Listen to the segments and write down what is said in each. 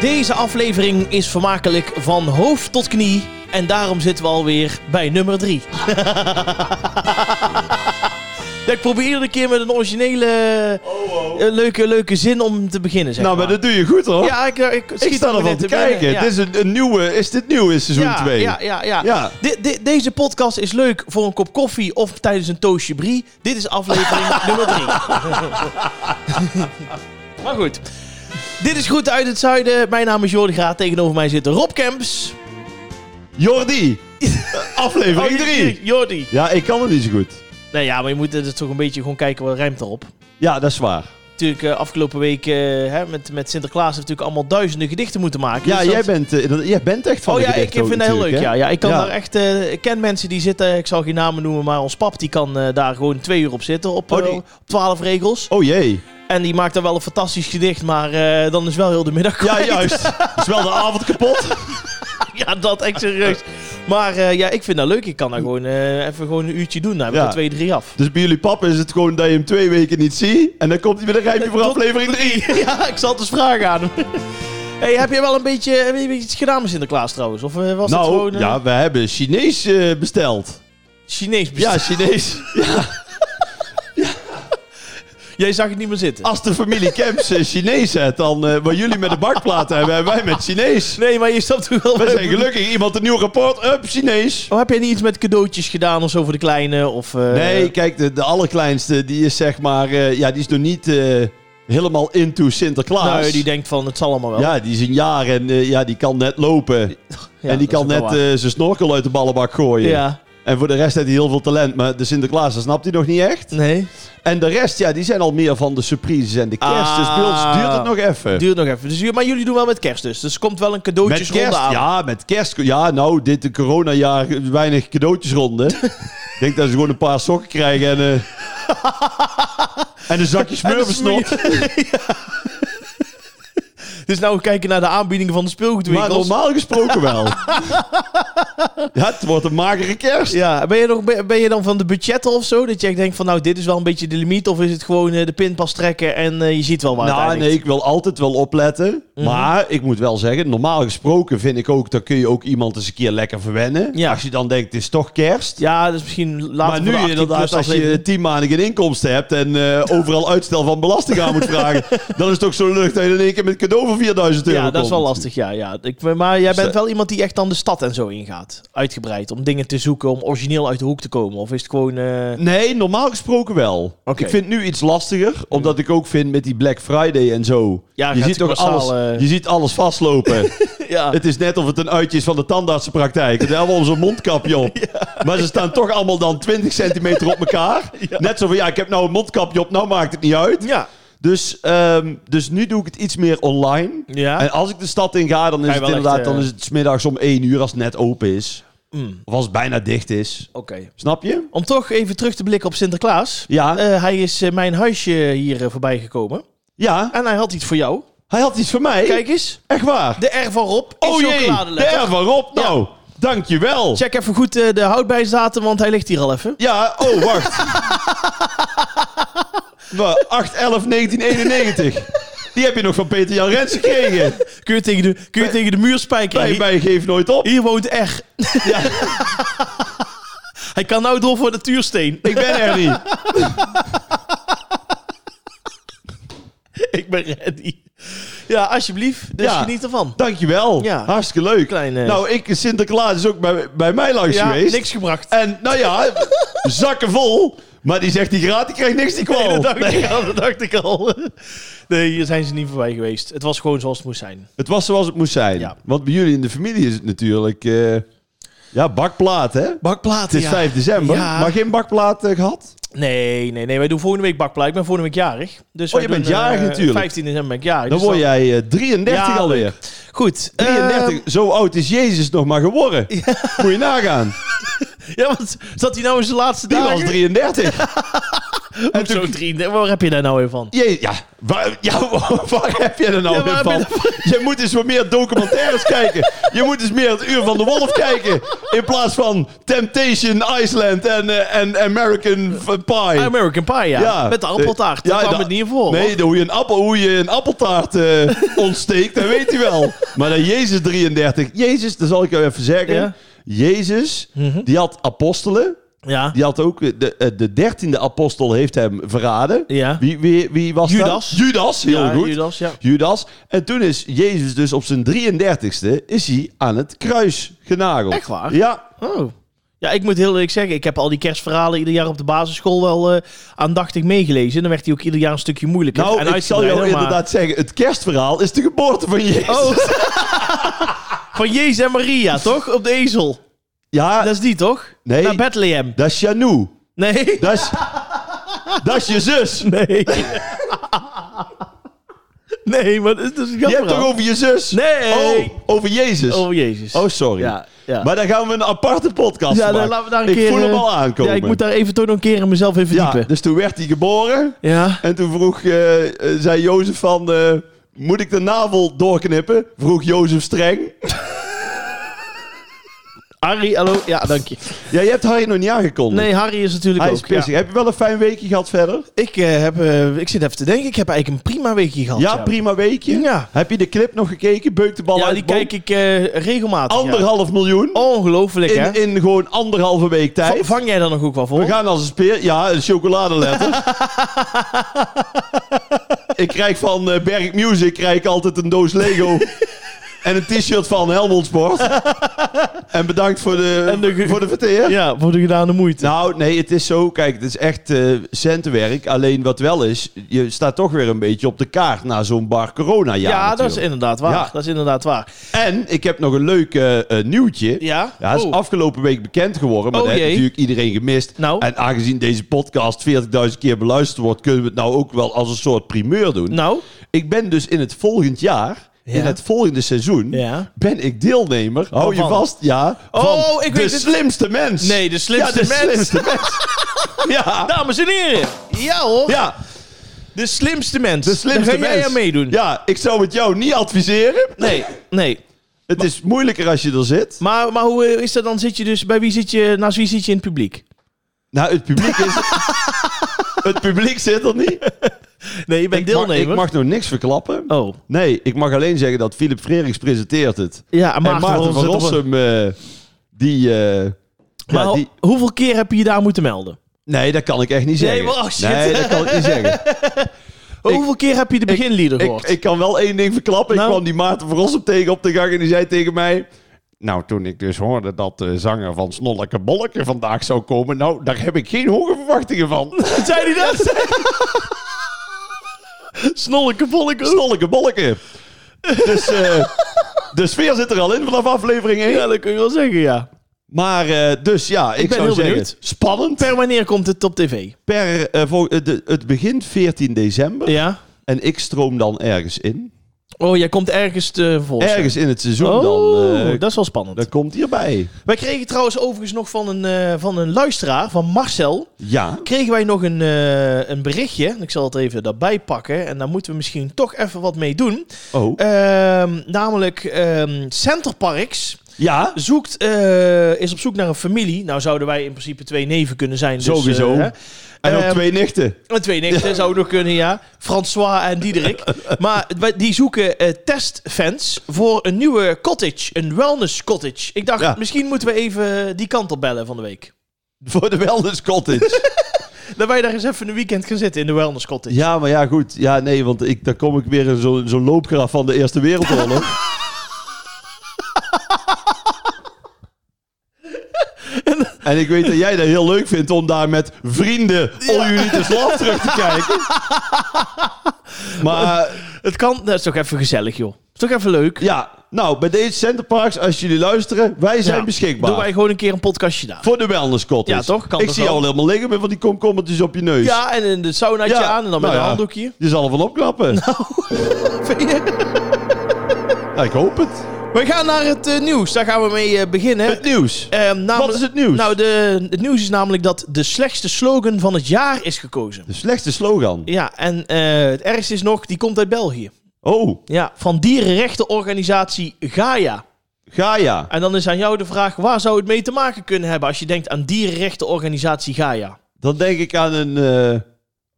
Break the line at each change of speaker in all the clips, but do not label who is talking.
Deze aflevering is vermakelijk van hoofd tot knie. En daarom zitten we alweer bij nummer 3. ik probeer iedere keer met een originele eh, leuke, leuke zin om te beginnen. Zeg
Oh, nou, maar
maar
dat doe je goed hoor.
Ja, ik, eh, ik schiet
ik sta
er
ervan
net
te
in binnen,
kijken.
ja.
Dit is een, een nieuwe, is dit nieuw in seizoen
ja,
2?
Ja, ja, ja.
Ja.
De- de- deze podcast is leuk voor een kop koffie of tijdens een toastje brie. Dit is aflevering nummer 3. maar goed. Dit is Goed uit het Zuiden. Mijn naam is Jordi Graat. Tegenover mij zit Rob Kemps. Oh,
Jordi, aflevering 3.
Jordi.
ja, ik kan het niet zo goed.
Nou ja, maar je moet eh, dus toch een beetje gewoon kijken wat rijmt erop.
Ja, dat is waar.
Natuurlijk, eh, afgelopen week eh, hè, met, met Sinterklaas hebben we natuurlijk allemaal duizenden gedichten moeten maken.
Ja,
Dus
jij
dat-
bent, eh, dat- jij bent echt van
Oh
de
ja, ik
gedichten
vind
ook
dat heel leuk.
natuurlijk,
Ja,
hè?
ja, ik kan
Ja.
daar echt. eh, ik ken mensen die zitten. Ik zal geen namen noemen, maar ons pap die kan eh, daar gewoon twee uur op zitten. Op,
Oh,
eh,
die-
op 12 regels.
Oh jee.
En die maakt dan wel een fantastisch gedicht, maar eh, dan is wel heel de middag.
Ja,
kwijt.
juist. is wel de avond kapot.
ja, dat echt serieus. Maar eh, ja, ik vind dat leuk. Ik kan daar gewoon eh, even gewoon een uurtje doen. Dan heb ik
Ja.
er twee, drie af.
Dus bij jullie pap is het gewoon dat je hem twee weken niet ziet. En dan komt hij met een rijmpje voor
Tot-
aflevering 3.
ja, ik zal het eens vragen aan hem. hey, heb je wel een beetje, heb je iets gedaan met Sinterklaas trouwens? Of eh, was het gewoon
Nou,
eh,
ja, we hebben Chinees eh, besteld.
Chinees
Ja,
bestaan?
Chinees.
Jij zag het niet meer zitten. Ah,
Als de familie Kemps eh, Chinees zet, dan eh, wat jullie met de bakplaat hebben, hebben wij met Chinees.
Nee, maar je snapt toch wel.
We
wat ik
zijn gelukkig iemand een nieuw rapport. Up, Chinees.
Oh, heb jij niet iets met cadeautjes gedaan of zo voor de kleine? Of, eh,
Nee, kijk, de, de allerkleinste, die is zeg maar, eh, ja, die is nog niet eh, helemaal into Sinterklaas.
nou, die denkt van het zal allemaal wel.
ja, die is een jaar en eh, ja, die kan net lopen.
Ja,
en die
dat
kan
is ook
net
wel
eh, zijn snorkel uit de ballenbak gooien.
waar. ja,
En voor de rest heeft hij heel veel talent, maar de Sinterklaas, dat snapt hij nog niet echt.
nee.
En de rest, ja, die zijn al meer van de surprises en de kerst.
Ah.
dus bij ons duurt het nog even.
Duurt nog even. Dus, jullie- maar jullie doen wel met kerst dus. Dus er komt wel een
Met
cadeautjesronde
kerst,
aan.
ja, met kerst. Ja, nou, dit de coronajaar weinig cadeautjesronde. Ik denk dat ze gewoon een paar sokken krijgen en, eh, en een zakje smurfensnot.
Dus nou kijken naar de aanbiedingen van de
Maar
speelgoedwinkels.
normaal gesproken wel. ja, het wordt een magere kerst.
Ja, ben je, nog, ben, ben je dan van de budgetten of zo? Dat jij denkt van nou, dit is wel een beetje de limiet. Of is het gewoon eh, de pinpas trekken en eh, je ziet wel waar het
nou,
eindigt?
nee, ik wil altijd wel opletten.
Mhm.
Maar ik moet wel zeggen, normaal gesproken vind ik ook... dan kun je ook iemand eens een keer lekker verwennen.
Ja.
Als je dan denkt, het is toch kerst.
Ja, dus misschien later
maar
voor de
nu
18
inderdaad,
plus
als je
aflevering.
tien maanden geen inkomsten hebt en eh, overal uitstel van belasting aan moet vragen, dan is het ook zo lucht dat je in één keer met cadeau voor 4000 euro
Ja, dat is wel
komt.
lastig, ja. ja. Ik, maar jij
Dus,
bent
eh,
wel iemand die echt dan de stad en zo ingaat. Uitgebreid, om dingen te zoeken, om origineel uit de hoek te komen. Of is het gewoon... eh,
Nee, normaal gesproken wel.
Oké.
Ik vind het nu iets lastiger, omdat ik ook vind met die Black Friday en zo.
Ja,
je,
gaat
ziet
het
toch alles,
massaal, eh,
je ziet alles vastlopen.
ja.
het is net of het een uitje is van de tandartsenpraktijk. Het hebben allemaal zo'n mondkapje op. Maar ze staan toch allemaal dan 20 centimeter op elkaar. Net zo van, ja, ik heb nou een mondkapje op, nou maakt het niet uit.
ja.
Dus, ehm, dus nu doe ik het iets meer online.
Ja.
En als ik de stad in ga, dan
Ga
is
je
het
wel
inderdaad
echt, eh,
dan is het 's middags om 1 uur als het net open is.
Mm,
Of als het bijna dicht is.
Oké.
Snap je?
Om toch even terug te blikken op Sinterklaas.
Ja.
Eh, hij is eh, mijn huisje hier eh, voorbij gekomen.
ja.
En hij had iets voor jou.
Hij had iets voor mij.
Kijk eens.
Echt waar.
De R van Rob in
oh jee.
chocoladeletter.
Daar van Rob.
Ja.
Nou, dankjewel.
Check even goed eh, de houtbijzaten, want hij ligt hier al even.
Ja, oh, wacht. Nou, 8-11-1991. Die heb je nog van Peter Jan Rens gekregen.
Kun je tegen de, kun je tegen de muur spijkeren.
Bij,
Hier-
bij Geef Nooit Op.
Hier woont R.
Ja,
Hij kan nou door voor de tuursteen.
ik ben er niet.
Ik ben ready. Ja, alsjeblieft. Dus
Ja.
geniet ervan.
Dankjewel.
Ja.
Hartstikke leuk.
Klein, eh,
Nou, ik, Sinterklaas is ook bij, bij mij langs
ja,
geweest.
niks gebracht.
En nou ja, zakken vol. Maar die zegt die gratis, ik krijg niks die kwal.
Nee, dat, dacht ik al, dat dacht ik al. Nee, hier zijn ze niet voorbij geweest. Het was gewoon zoals het moest zijn.
Het was zoals het moest zijn.
Ja.
Want bij jullie in de familie is het natuurlijk... eh, ja, bakplaat, hè? Het
Bakplaten,
is 5 december,
Ja.
maar geen bakplaat eh, gehad?
Nee, nee, nee. Wij doen volgende week bakplaat. Ik ben volgende week jarig. Dus
Oh,
wij
je bent
doen, eh,
jarig natuurlijk.
15 december ben ik jarig.
Dan
dus
word jij eh, 33
Ja,
alweer.
Goed.
33,
Ehm,
zo oud is Jezus nog maar geworden. Moet je nagaan.
Ehm, ja, want zat hij nou in zijn laatste
Die
dagen?
was 33.
En zo drie. Waar heb je daar nou weer van?
Jee, ja, waar, ja, waar heb je er nou
Ja,
weer
waar
van?
heb
Je moet eens wat meer documentaires kijken. Je moet eens meer het Uur van de Wolf kijken. In plaats van Temptation Iceland en, eh, en American F- Pie.
American Pie, ja. Met de appeltaart.
Eh,
Daar
ja,
kwam
de-
het niet in voor.
Nee,
hoor.
de- hoe je een, appel, hoe je een appeltaart eh, ontsteekt, dat weet hij wel. Maar dan Jezus 33. Jezus, dat zal ik jou even zeggen.
Ja. Mhm.
Jezus, die had apostelen.
Ja.
Die had ook, eh, de, eh, de dertiende apostel heeft hem verraden.
Ja.
Wie, wie, wie was
Judas.
dat? Judas, heel
Ja,
goed.
Judas, ja.
Judas. En toen is Jezus dus op zijn 33ste is hij aan het kruis genageld.
Echt waar?
Ja.
Oh. Ja, ik moet heel eerlijk zeggen, ik heb al die kerstverhalen ieder jaar op de basisschool wel eh, aandachtig meegelezen. En dan werd die ook ieder jaar een stukje moeilijker.
Nou,
en
ik zal jou
uitgebreider, maar- Oh.
inderdaad zeggen, het kerstverhaal is de geboorte van Jezus.
Van Jezus en Maria, toch? Op de ezel.
Ja,
Dat is die, toch?
Nee.
Naar Bethlehem.
dat is Janu.
Nee.
Dat is, dat is je zus.
Nee. nee, maar dat is dus een
Je hebt
grapverhaal.
toch over je zus?
Nee.
Oh, over Jezus.
Oh, Jezus.
Oh, sorry.
Ja, ja.
Maar dan gaan we een aparte podcast
ja, dan
maken.
laten we daar een
ik
keer...
voel hem
eh,
al aankomen.
Ja, ik moet daar even toch nog een keer in mezelf in
Ja,
verdiepen.
dus toen werd hij geboren.
Ja.
En toen vroeg, eh, eh, zei Jozef van, eh, moet ik de navel doorknippen? Vroeg Jozef streng.
Harry, hallo. Ja, dank je.
Ja, je hebt Harry nog niet aangekondigd.
Nee, Harry is natuurlijk
Hij
ook...
is pissig.
ja.
Heb je wel een fijn weekje gehad verder?
Ik, eh, heb, eh, ik zit even te denken. Ik heb eigenlijk een prima weekje gehad.
ja, prima weekje.
Ja.
Heb je de clip nog gekeken? Beuk de bal
Ja,
uit
die
de boom.
kijk ik eh, regelmatig. ja.
Anderhalf miljoen.
Ongelooflijk, hè?
In, in gewoon anderhalve week tijd.
Va- Vang jij daar nog ook wel voor?
We gaan als een speer. Ja, een chocoladeletter. ik krijg van eh, Berg Music krijg ik altijd een doos Lego. en een t-shirt van Helmond Sport. en bedankt voor de,
En de ge-
voor de verteer.
Ja, voor de gedane moeite.
Nou, nee, het is zo. Kijk, het is echt eh, centenwerk. Alleen wat wel is, je staat toch weer een beetje op de kaart na zo'n bar corona
ja,
jaar.
dat is inderdaad waar.
Ja.
Dat is inderdaad waar.
En ik heb nog een leuk eh, eh, nieuwtje.
Ja?
Ja, dat is
Oh.
afgelopen week bekend geworden, maar
Oh
dat heeft
jee.
natuurlijk iedereen gemist.
Nou.
En aangezien deze podcast 40.000 keer beluisterd wordt, kunnen we het nou ook wel als een soort primeur doen.
Nou,
Ik ben dus in het volgend jaar,
Ja.
in het volgende seizoen,
Ja.
ben ik deelnemer, hou je
Waarvan?
vast, ja,
Oh,
van
ik
de
weet het.
slimste mens.
Nee, de slimste
ja, de
mens.
slimste mens. ja,
dames en heren. Ja hoor.
ja,
De slimste mens.
de slimste
Daar ga
mens.
jij aan meedoen.
Ja, ik zou het jou niet adviseren.
Nee, nee.
Het is moeilijker als je er zit.
Maar, maar hoe eh, is dat dan? Zit je dus, bij wie zit je, naast wie zit je in het publiek?
Nou, het publiek is... het publiek zit er niet.
Nee, je bent deelnemer.
Ik mag, ik mag nog niks verklappen.
Oh,
Nee, ik mag alleen zeggen dat Philip Frerichs presenteert het.
ja, en Maarten,
en Maarten van
zit op een-
Rossum, eh, die, eh,
Maar
ja,
ho-
die...
hoeveel keer heb je je daar moeten melden?
Nee, dat kan ik echt niet
Nee,
zeggen.
maar- oh, shit.
Nee, dat kan ik niet zeggen.
hoeveel keer heb je de beginlieder
Ik,
gehoord?
ik kan wel één ding verklappen.
Nou.
Ik kwam die Maarten van Rossum tegen op de gang en die zei tegen mij... Nou, toen ik dus hoorde dat de zanger van Snolleke Bolleke vandaag zou komen... Nou, daar heb ik geen hoge verwachtingen van.
zei hij dat? Snolleke volk.
Snolleke Bolleke. Dus eh, de sfeer zit er al in vanaf aflevering 1.
Ja, dat kun je wel zeggen, ja.
Maar eh, dus ja,
ben
ik, zou
heel
zeggen,
benieuwd.
spannend.
Per wanneer komt het op tv?
Per, eh, vol- eh, de- het begint 14 december
Ja.
en ik stroom dan ergens in.
Oh, jij komt ergens te volgen.
Ergens in het seizoen
Oh,
dan. eh,
dat is wel spannend.
dat komt hierbij.
Wij kregen trouwens overigens nog van een, eh, van een luisteraar, van Marcel,
Ja.
kregen wij nog een, eh, een berichtje. Ik zal het even daarbij pakken en daar moeten we misschien toch even wat mee doen.
Oh.
Ehm, namelijk ehm Centerparks
ja.
zoekt, eh, is op zoek naar een familie. Nou zouden wij in principe twee neven kunnen zijn. Dus,
Sowieso.
eh, hè.
En ook
ehm,
twee nichten.
En twee nichten zou nog kunnen, ja. François en Diederik. Maar wij- die zoeken eh, testfans voor een nieuwe cottage. Een wellness cottage. Ik dacht,
Ja.
misschien moeten we even die kant op bellen van de week.
Voor de wellness cottage.
Dat wij daar eens even een weekend gaan zitten in de wellness cottage.
ja, maar ja, goed. Ja, nee, want ik, dan kom ik weer in zo'n zo'n loopgraaf van de Eerste Wereldoorlog. En ik weet dat jij dat heel leuk vindt om daar met vrienden all jullie te slaap terug te kijken. Maar eh,
Het kan, dat is toch even gezellig, joh. Is toch even leuk?
ja, nou, bij deze Centerparks, als jullie luisteren, wij zijn
Ja.
beschikbaar.
Doen wij gewoon een keer een podcastje daar.
Voor de wellness cottage.
Ja, toch? Kan
ik
toch
zie
wel?
jou al helemaal liggen met van die komkommertjes op je neus.
Ja, en een saunaatje
Ja.
aan en dan met
Nou
een
ja.
handdoekje.
Je zal ervan opknappen. Nou, ik hoop het.
We gaan naar het eh, nieuws. Daar gaan we mee eh, beginnen.
Het nieuws.
Ehm, namelijk-
Wat is het nieuws?
Nou, de, het nieuws is namelijk dat de slechtste slogan van het jaar is gekozen.
De slechtste slogan.
Ja, en eh, het ergste is nog, die komt uit België.
Oh,
Ja, van dierenrechtenorganisatie Gaia.
Gaia.
En dan is aan jou de vraag, waar zou het mee te maken kunnen hebben als je denkt aan dierenrechtenorganisatie Gaia?
Dan denk ik aan een, eh,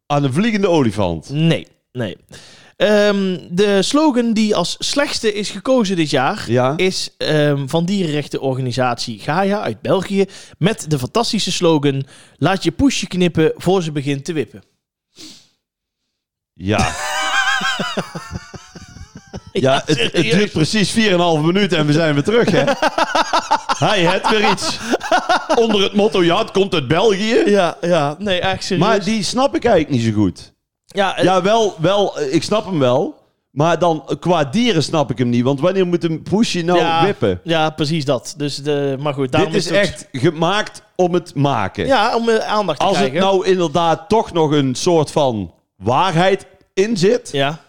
aan een vliegende olifant.
Nee, nee. Ehm, de slogan die als slechtste is gekozen dit jaar
Ja.
is ehm, van dierenrechtenorganisatie Gaia uit België met de fantastische slogan: laat je poesje knippen voor ze begint te wippen.
Ja. Ja, het, het duurt precies 4,5 minuut en we zijn weer terug, hè? Hij het weer iets. Onder het motto, ja, het komt uit België.
Ja, ja, nee, echt serieus.
Maar die snap ik eigenlijk niet zo goed.
ja, eh,
Ja, wel, wel, eh, ik snap hem wel. Maar dan eh, qua dieren snap ik hem niet. Want wanneer moet een poesje nou
ja,
wippen?
Ja, preïs dat. Dus de, maar goed, daarom
Dit is
het ook-
echt gemaakt om het maken.
Ja, om eh, aandacht te
Als het
krijgen.
nou inderdaad toch nog een soort van waarheid in zit,
Ja,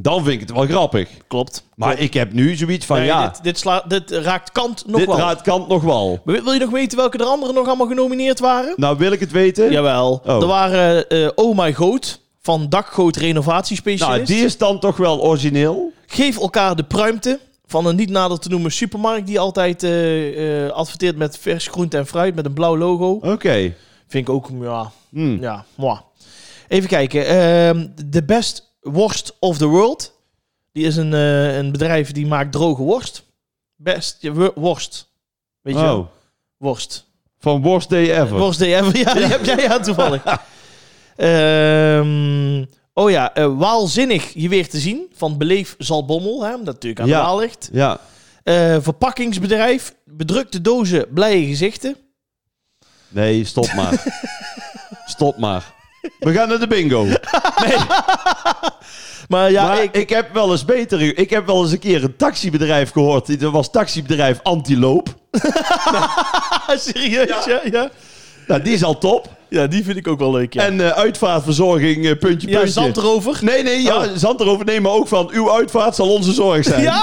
dan vind ik het wel grappig.
klopt.
Maar ik heb nu zoiets van,
Nee,
ja,
dit, dit, sla- dit raakt kant nog
dit,
wel.
raadt kant nog wel.
Wil wil je nog weten welke er anderen nog allemaal genomineerd waren?
Nou, wil ik het weten?
Jawel.
Oh.
Er waren eh Oh My Goat van Dakgoot Renovatiespecialist.
nou, die is dan toch wel origineel.
Geef elkaar de pruimte van een niet nader te noemen supermarkt die altijd eh, eh, adverteert met vers groente en fruit met een blauw logo.
Oké.
Vind ik ook, ja,
Hm.
ja, moi. Even kijken. ehm, De Best Worst of the World. Die is een, eh, een bedrijf die maakt droge worst. Best ja, wo- worst. Weet je wel?
Oh,
Worst.
van Worst Day Ever.
Worst day ever. Ja, die heb jij ja, toevallig. Ehm, oh ja, eh, Waalzinnig je weer te zien. Van Beleef Zalbommel, hè, omdat het natuurlijk aan
Ja.
de Waal ligt.
Ja.
Eh, verpakkingsbedrijf, bedrukte dozen, blije gezichten.
Nee, stop maar. stop maar. We gaan naar de bingo.
Maar ja,
maar
ik,
ik... heb wel eens beter... Ik heb wel eens een keer een taxibedrijf gehoord. Dat was taxibedrijf Antiloop.
serieus, ja. Ja, ja.
Nou, die is al top.
die vind ik ook wel leuk, ja.
En eh, uitvaartverzorging, eh, puntje,
ja,
puntje.
zand erover.
Nee, nee, ja,
Oh.
zand erover nemen, maar ook van uw uitvaart zal onze zorg zijn.
Ja,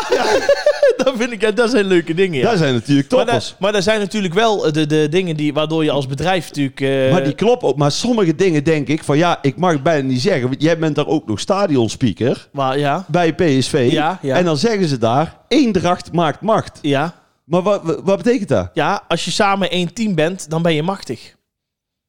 dat vind ik, ja, dat zijn leuke dingen, ja.
Dat zijn natuurlijk
maar,
toppers.
daar, maar daar zijn natuurlijk wel eh, de, de dingen die, waardoor je als bedrijf natuurlijk... eh,
Maar die klopt ook. Maar sommige dingen denk ik van ja, ik mag het bijna niet zeggen. Want jij bent daar ook nog stadionspeaker
maar, ja,
bij PSV.
Ja, ja.
En dan zeggen ze daar, eendracht maakt macht.
ja.
Maar wat, wat- wat betekent dat?
Ja, als je samen één team bent, dan ben je machtig.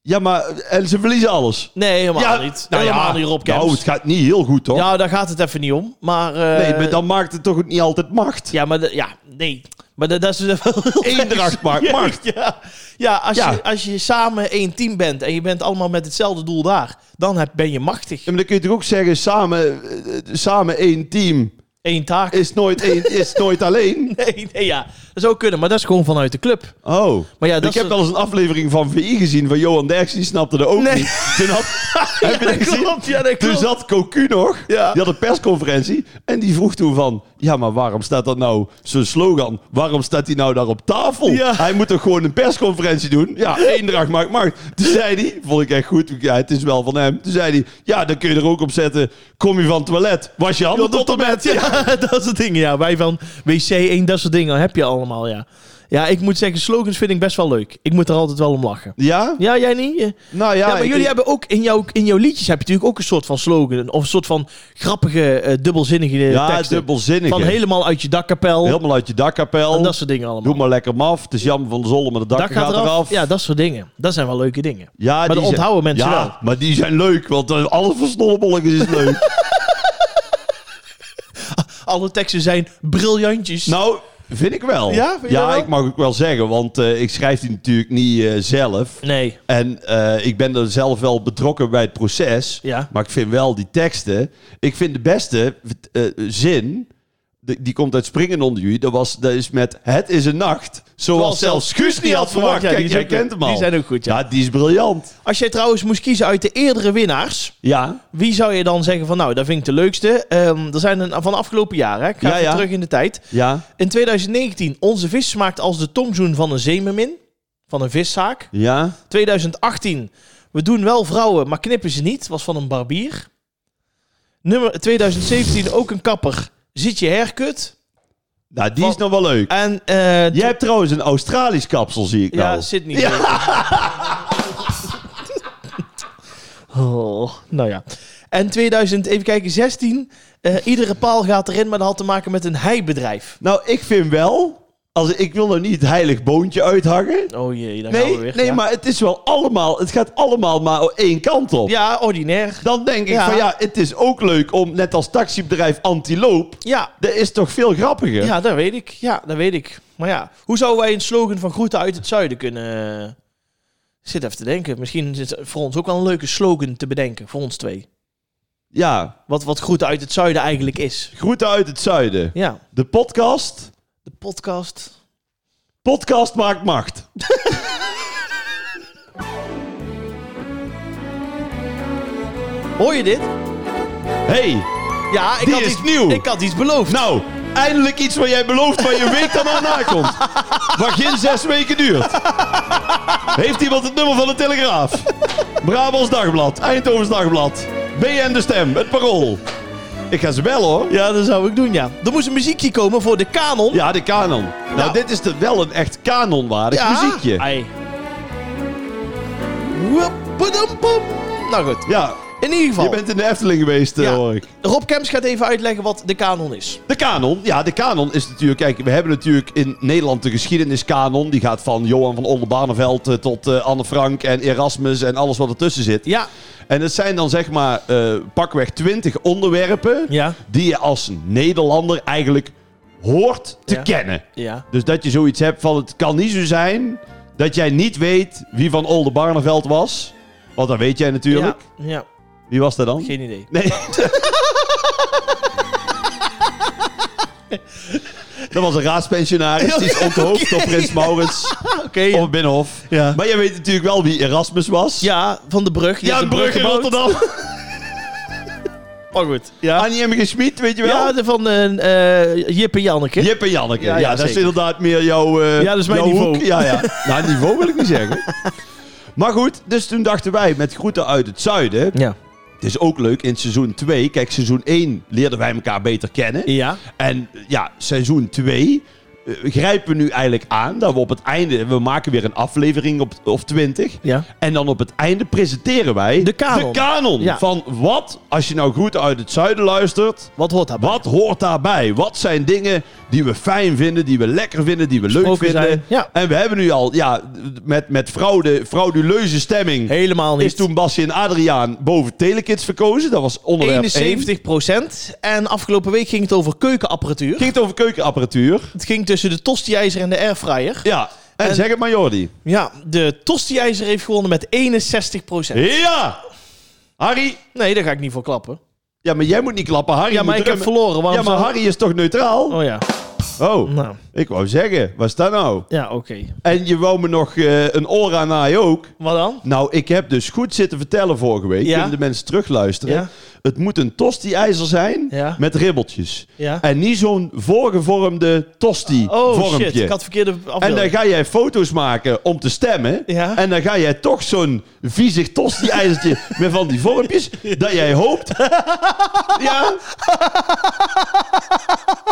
Ja, maar en ze verliezen alles.
Nee, helemaal niet. helemaal niet, Rob Kemps.
Nou, het gaat niet heel goed, toch?
ja, daar gaat het even niet om. Maar, eh,
nee, maar dan maakt het toch ook niet altijd macht.
Ja, maar... de- Ja, nee. Maar dat, dat is dus wel heel
Eendracht maakt
erg.
macht.
Ja, ja, als,
Ja.
Je, als je samen één team bent en je bent allemaal met hetzelfde doel daar, dan heb, ben je machtig.
Ja, maar dan kun je toch ook zeggen, samen, eh, eh, samen één team
Eén taak.
is nooit, één, is nooit alleen.
Nee, nee, ja. Dat zou kunnen, maar dat is gewoon vanuit de club.
Oh.
Maar ja, dat
ik
is...
heb wel eens een aflevering van VI gezien van Johan Derks, die snapte er ook
Nee.
niet. Toen had, heb je dat
Ja,
gezien?
klopt, ja, dat
Toen
klopt.
zat Cocu nog,
Ja.
die had een persconferentie en die vroeg toen van, ja maar waarom staat dat nou, zijn slogan, waarom staat die nou daar op tafel?
Ja.
Hij moet toch gewoon een persconferentie doen? Ja, Eendracht maakt macht. Toen zei hij, vond ik echt goed, ja het is wel van hem, toen zei hij, ja dan kun je er ook op zetten, kom je van het toilet, was je handen tot en met. Ja.
Ja, dat soort dingen, ja. Wij van wc 1, dat soort dingen heb je allemaal, ja. Ja, ik moet zeggen, slogans vind ik best wel leuk. Ik moet er altijd wel om lachen.
Ja?
Ja, jij niet? Ja,
Nou ja,
maar
ik-
jullie hebben ook in jouw, in jouw liedjes heb je natuurlijk ook een soort van slogan. Of een soort van grappige, eh, dubbelzinnige
ja,
teksten.
dubbelzinnig.
Van helemaal uit je dakkapel.
Helemaal uit je dakkapel.
en dat soort dingen allemaal.
Doe maar lekker maf. Het is jammer van de zolder, maar de dak, gaat, eraf.
Ja, dat soort dingen. Dat zijn wel leuke dingen.
Ja,
maar dat
zijn-
onthouden mensen
ja,
wel.
maar die zijn leuk, want eh, alles van snollebolletjes is leuk.
Alle teksten zijn briljantjes.
nou, vind ik wel.
Ja, vind je dat wel?
ik mag ook wel zeggen, want eh, ik schrijf die natuurlijk niet eh, zelf.
nee.
En eh, ik ben er zelf wel betrokken bij het proces.
Ja.
Maar ik vind wel die teksten... Ik vind de beste eh, zin... Die, die komt uit Springen onder jullie. Dat, was, dat is met Het is een nacht. Zoals zelfs Guus niet had verwacht.
Ja,
Kijk,
die
jij
zijn ook-
kent hem al.
die zijn ook goed, ja.
die is briljant.
Als jij trouwens moest kiezen uit de eerdere winnaars...
Ja.
Wie zou je dan zeggen van, nou, dat vind ik de leukste? Ehm, er zijn een, van de afgelopen jaren, hè? ik ga
Ja,
even
ja.
terug in de tijd.
Ja.
In 2019, onze vis smaakt als de tongzoen van een zeemermin. Van een viszaak.
Ja.
2018, we doen wel vrouwen, maar knippen ze niet. Was van een barbier. Nummer 2017, ook een kapper. Zit je haircut?
Nou, die is nog wel leuk.
En eh,
Jij hebt trouwens een Australisch kapsel, zie ik
Ja,
nou.
Sydney. oh, nou ja. En 2000, even kijken, 16. eh, iedere paal gaat erin, maar dat had te maken met een heibedrijf.
Nou, ik vind wel... Als, ik wil nou niet het heilig boontje uithakken.
Oh jee, daar gaan
Nee,
we weer.
nee
ja.
maar het is wel allemaal... Het gaat allemaal maar één kant op.
Ja, ordinair.
Dan denk ik
Ja.
van ja, het is ook leuk om... Net als taxibedrijf Antiloop...
Ja,
Dat is toch veel grappiger?
ja, dat weet ik. Ja, dat weet ik. Maar ja, hoe zouden wij een slogan van groeten uit het zuiden kunnen... Ik zit even te denken. Misschien is het voor ons ook wel een leuke slogan te bedenken, voor ons twee.
Ja,
Wat, wat groeten uit het zuiden eigenlijk is.
groeten uit het zuiden.
Ja,
De podcast.
de podcast...
Podcast maakt macht.
Hoor je dit?
Hey,
Ja, ik
Die
had
is
iets,
nieuw.
Ik had iets beloofd.
nou, eindelijk iets wat jij belooft waar je weet dan aan nakomt. Waar geen zes weken duurt. Heeft iemand het nummer van de Telegraaf? Brabants Dagblad, Eindhovens Dagblad, BN De Stem, Het Parool. Ik ga ze bellen hoor.
Ja, dat zou ik doen, ja. Er moest een muziekje komen voor de kanon.
Ja, de kanon. Nou,
Nou.
dit is de, wel een echt kanonwaardig
Ja.
muziekje.
Ai. Woepedampam. Nou goed,
Ja,
in ieder geval.
je bent in de Efteling geweest eh,
Ja.
hoor ik.
Rob Kemps gaat even uitleggen wat de kanon is.
De kanon, ja, de kanon is natuurlijk... Kijk, we hebben natuurlijk in Nederland de geschiedeniskanon. Die gaat van Johan van Oldenbarneveld eh, tot eh, Anne Frank en Erasmus en alles wat ertussen zit.
Ja.
En het zijn dan zeg maar eh, pakweg twintig onderwerpen
Ja.
die je als Nederlander eigenlijk hoort te
Ja.
kennen.
Ja.
Dus dat je zoiets hebt van het kan niet zo zijn dat jij niet weet wie van Oldenbarneveld was. Want dat weet jij natuurlijk.
Ja. ja.
Wie was dat dan?
Geen idee.
Nee. Dat was een raadspensionaris. Die is onthoofd door Prins Maurits
Oké.
op het Binnenhof.
Ja.
Maar jij weet natuurlijk wel wie Erasmus was.
Ja, van de brug. Die
Ja,
heeft
een brug in
gebouwd.
Rotterdam.
Oh, goed. Ja.
Annie M. G. Schmid, weet je wel?
Ja, de van eh eh, Jip en Janneke.
Jip en Janneke.
Ja,
Ja,
ja,
dat is
zeker.
inderdaad meer jouw eh,
Ja, dat is mijn
jouw
niveau.
hoek. Ja, ja. Nou, niveau wil ik niet zeggen. Maar goed, dus toen dachten wij met groeten uit het zuiden.
Ja.
Het is ook leuk in seizoen 2. Kijk, seizoen 1 leerden wij elkaar beter kennen.
Ja.
En ja, seizoen 2 grijpen we nu eigenlijk aan. Dat we op het einde, we maken weer een aflevering op, of 20.
Ja.
En dan op het einde presenteren wij
De kanon.
De kanon.
Ja.
Van wat, als je nou goed uit het zuiden luistert,
Wat hoort daarbij?
wat hoort daarbij? Wat zijn dingen die we fijn vinden, die we lekker vinden, die we leuk
Gesproken
vinden?
zijn, ja.
En we hebben nu al, ja, met, met fraude, frauduleuze stemming.
Helemaal niet.
Is toen Basje en Adriaan boven Telekids verkozen. Dat was onderwerp
71
71.
procent. En afgelopen week ging het over keukenapparatuur.
Ging het over keukenapparatuur.
Het ging tussen de tostiijzer en de airfryer.
Ja, en,
En-
zeg het maar Jordi.
Ja, de tostiijzer heeft gewonnen met 61
Ja! Harry!
Nee, daar ga ik niet voor klappen.
Ja, maar jij moet niet klappen. Harry
Ja, maar
moet
ik heb
drummen.
verloren. Waarom
Ja, maar
zou-
Harry is toch neutraal?
Oh ja,
Oh,
nou,
ik wou zeggen. Wat is dat nou?
ja, oké.
En je wou me nog eh, een oor aan naaien ook.
Wat dan?
Nou, ik heb dus goed zitten vertellen vorige week.
Ja.
Kunnen de mensen terugluisteren.
Ja.
Het moet een tosti-ijzer zijn
Ja.
met ribbeltjes.
Ja.
En niet zo'n voorgevormde
Oh
tosti-vormpje.
shit, ik had verkeerde afbeelding.
En dan ga jij foto's maken om te stemmen.
Ja.
En dan ga jij toch zo'n viezig tosti-ijzertje met van die vormpjes. Dat jij hoopt. ja.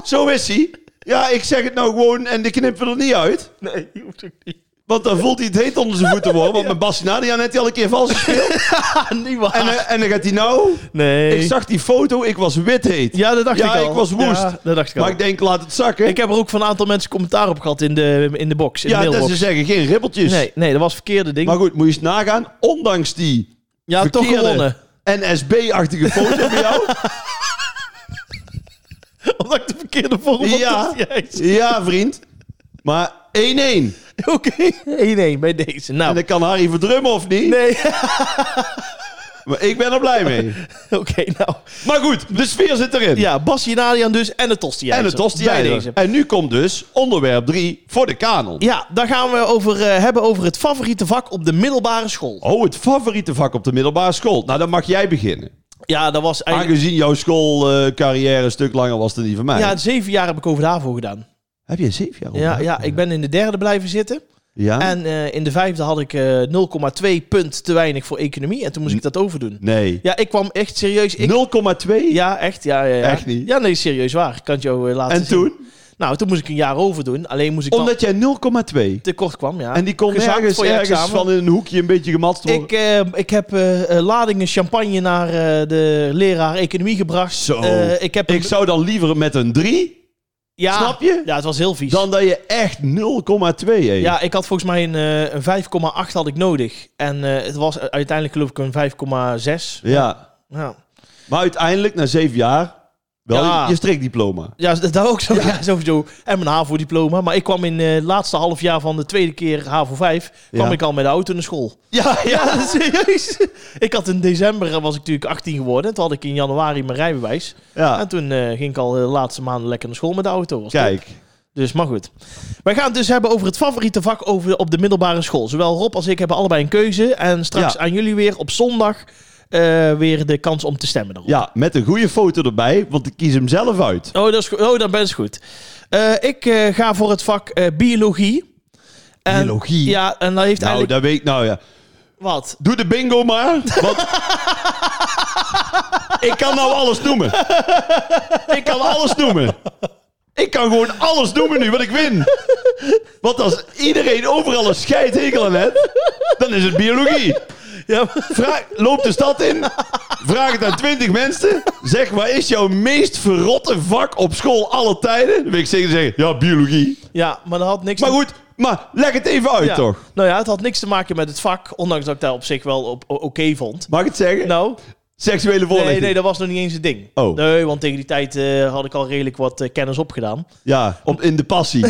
Zo is hij. Ja, ik zeg het nou gewoon en die knippen er niet uit.
Nee, je hoeft ook niet.
Want dan voelt hij het heet onder zijn voeten worden. Want met Bas Nadian heeft hij al een keer vals gespeeld.
Ah, niet waar.
En, eh, en dan gaat hij nou...
nee.
Ik zag die foto, ik was wit heet.
Ja, dat dacht
Ja,
ik al.
ik was woest.
Ja, dat dacht ik al.
Maar ik denk, laat het zakken.
Ik heb er ook van een aantal mensen commentaar op gehad in de, in de box, in
ja,
de
dat
mailbox.
ze zeggen, geen ribbeltjes.
Nee, nee, dat was verkeerde ding.
Maar goed, moet je eens nagaan. Ondanks die
ja, Ah, toch
verkeerde
gewonnen.
NSB-achtige foto van jou.
Omdat ik de verkeerde vorm van
Ja.
tosti-ijzer-
Ja, vriend. Maar 1-1.
Oké, 1-1 bij deze.
En
Nou,
dan kan Harry verdrummen of niet.
nee.
Maar ik ben er blij mee.
Oké, nou.
Maar goed, de sfeer zit erin.
Ja, Bassi Nadian dus en de tosti
En het tosti
Bij deze.
En nu komt dus onderwerp 3 voor de kanon.
Ja, daar gaan we over eh, hebben over het favoriete vak op de middelbare school.
Oh, het favoriete vak op de middelbare school. Nou, dan mag jij beginnen.
Ja, dat was eigenlijk...
Aangezien jouw schoolcarrière een stuk langer was dan die van mij.
Ja, zeven jaar heb ik over de HAVO gedaan.
Heb je zeven jaar
Ja,
onderwijs?
ja, ik ben in de derde blijven zitten.
Ja?
En eh, in de vijfde had ik eh, 0,2 punt te weinig voor economie. En toen moest ik dat overdoen.
Nee.
Ja, ik kwam echt serieus... Ik...
0,2?
Ja, echt. Ja, ja, ja.
Echt niet?
Ja, nee, serieus waar. Ik kan het jou eh, laten
en
zien.
toen?
Nou, toen moest ik een jaar over doen. Alleen moest ik dan
Omdat jij 0,2.
te kort kwam, ja.
En die kon
Gezakt
ergens,
voor je
ergens
examen.
van in een hoekje een beetje gematst worden.
Ik, eh, ik heb eh, eh, ladingen champagne naar eh, de leraar economie gebracht.
Zo.
Eh, ik heb
Ik zou dan liever met een 3,
ja,
snap je?
Ja, het was heel vies.
dan dat je echt 0,2 eet.
ja, ik had volgens mij een, eh, een 5,8 had ik nodig. En eh, het was uiteindelijk geloof ik een 5,6.
Ja.
Ja.
Maar uiteindelijk, na 7 jaar, wel
Ja.
je, je strikdiploma.
Ja, dat dat ook zo. Ja. sowieso. En mijn HAVO-diploma. Maar ik kwam in eh, het laatste half jaar van de tweede keer HAVO 5... kwam
Ja.
ik al met de auto naar school.
Ja,
Ja, serieus. Ik had in december, eh, was ik natuurlijk 18 geworden. Toen had ik in januari mijn rijbewijs.
Ja,
En toen eh, ging ik al de laatste maanden lekker naar school met de auto. Was top.
Ah. kijk.
Dus, maar goed. Wij gaan het dus hebben over het favoriete vak over, op de middelbare school. Zowel Rob als ik hebben allebei een keuze. En straks
Ja.
aan jullie weer op zondag eh, weer de kans om te stemmen daarop.
Ja, met een goede foto erbij, want ik kies hem zelf uit. Nou,
Oh, dat is goed. Oh, dan ben je goed. Eh, ik eh, ga voor het vak eh, biologie. En-
Biologie?
Ja, en dat heeft
Nou,
eigenlijk...
dat weet ik nou ja.
Wat?
Doe de bingo maar. Want ik kan nou alles noemen. Ik kan alles noemen. Ik kan gewoon alles noemen nu, want ik win. Want als iedereen overal een scheidhekel aan heeft, dan is het biologie.
Ja,
Vraag, loop de stad in, vraag het aan twintig mensen. Zeg, wat is jouw meest verrotte vak op school alle tijden? Dan wil ik zeker zeggen, ja, biologie.
ja maar dat had niks...
Maar
te-
goed, maar leg het even uit
ja.
toch.
Nou ja, het had niks te maken met het vak. Ondanks dat ik dat op zich wel op, o- oké vond.
Mag ik het zeggen?
Nou,
Seksuele
nee,
voorlichting.
nee, dat was nog niet eens het ding.
Oh.
Nee, want tegen die tijd eh, had ik al redelijk wat eh, kennis opgedaan.
Ja, op, in de passie.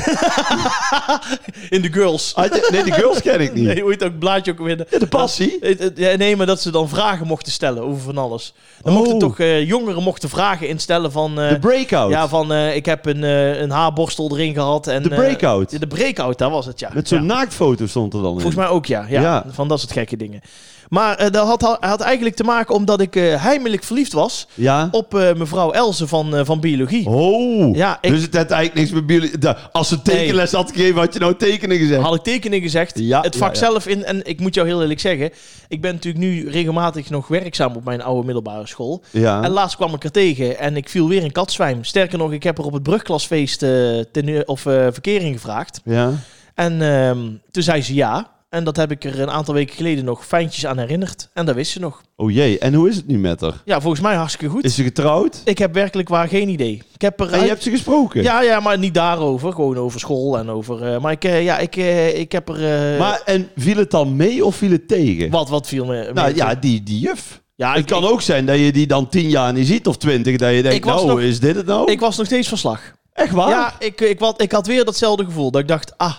In de girls.
Had je- Ah, nee, de girls ken ik niet.
Nee, hoe heet het ook blaadje ook weer.
de passie.
Het- het- ja, Nee, maar dat ze dan vragen mochten stellen over van alles. Dan
Oh.
mochten toch eh, jongeren mochten vragen instellen van... eh,
De breakout.
Ja, van eh, ik heb een, eh, een haarborstel erin gehad. En,
De
eh,
breakout.
ja, de breakout, daar was het, ja.
Met zo'n
Ja.
naaktfoto stond er dan in.
Volgens mij ook, ja. ja,
Ja.
Van dat soort gekke dingen. Maar eh, dat had, had eigenlijk te maken omdat ik eh, heimelijk verliefd was
Ja.
op eh, mevrouw Elze van, eh, van Biologie.
Oh.
Ja, ik-
Dus het had eigenlijk niks met biologie. Da- Als ze tekenles had gegeven, had je nou tekenen gezegd.
Had ik tekenen gezegd,
Ja,
het
ja,
vak
ja.
zelf in. En ik moet jou heel eerlijk zeggen, ik ben natuurlijk nu regelmatig nog werkzaam op mijn oude middelbare school. En
Ja.
laatst kwam ik er tegen en ik viel weer in katzwijm. Sterker nog, ik heb er op het brugklasfeest eh, tenue- of, eh, verkering gevraagd.
Ja.
En ehm, toen zei ze ja. En dat heb ik er een aantal weken geleden nog fijntjes aan herinnerd. En dat wist ze nog.
Oh jee, en hoe is het nu met haar?
Ja, volgens mij hartstikke goed.
Is ze getrouwd?
Ik heb werkelijk waar geen idee. Ik heb er... eh,
En je hebt ze gesproken?
Ja, ja, maar niet daarover. Gewoon over school en over... eh, maar ik, eh, ja, ik, eh, ik heb er... eh,
Maar en viel het dan mee of viel het tegen?
Wat, wat viel me... me
Nou
toe?
ja, die, die juf.
ja
het
ik,
kan
ik-
ook zijn dat je die dan tien jaar niet ziet of twintig. Dat je denkt,
Ik was
nou
nog-
is dit het nou?
Ik was nog steeds van slag.
Echt waar?
Ja, ik, ik, wat, ik had weer datzelfde gevoel. Dat ik dacht, ah,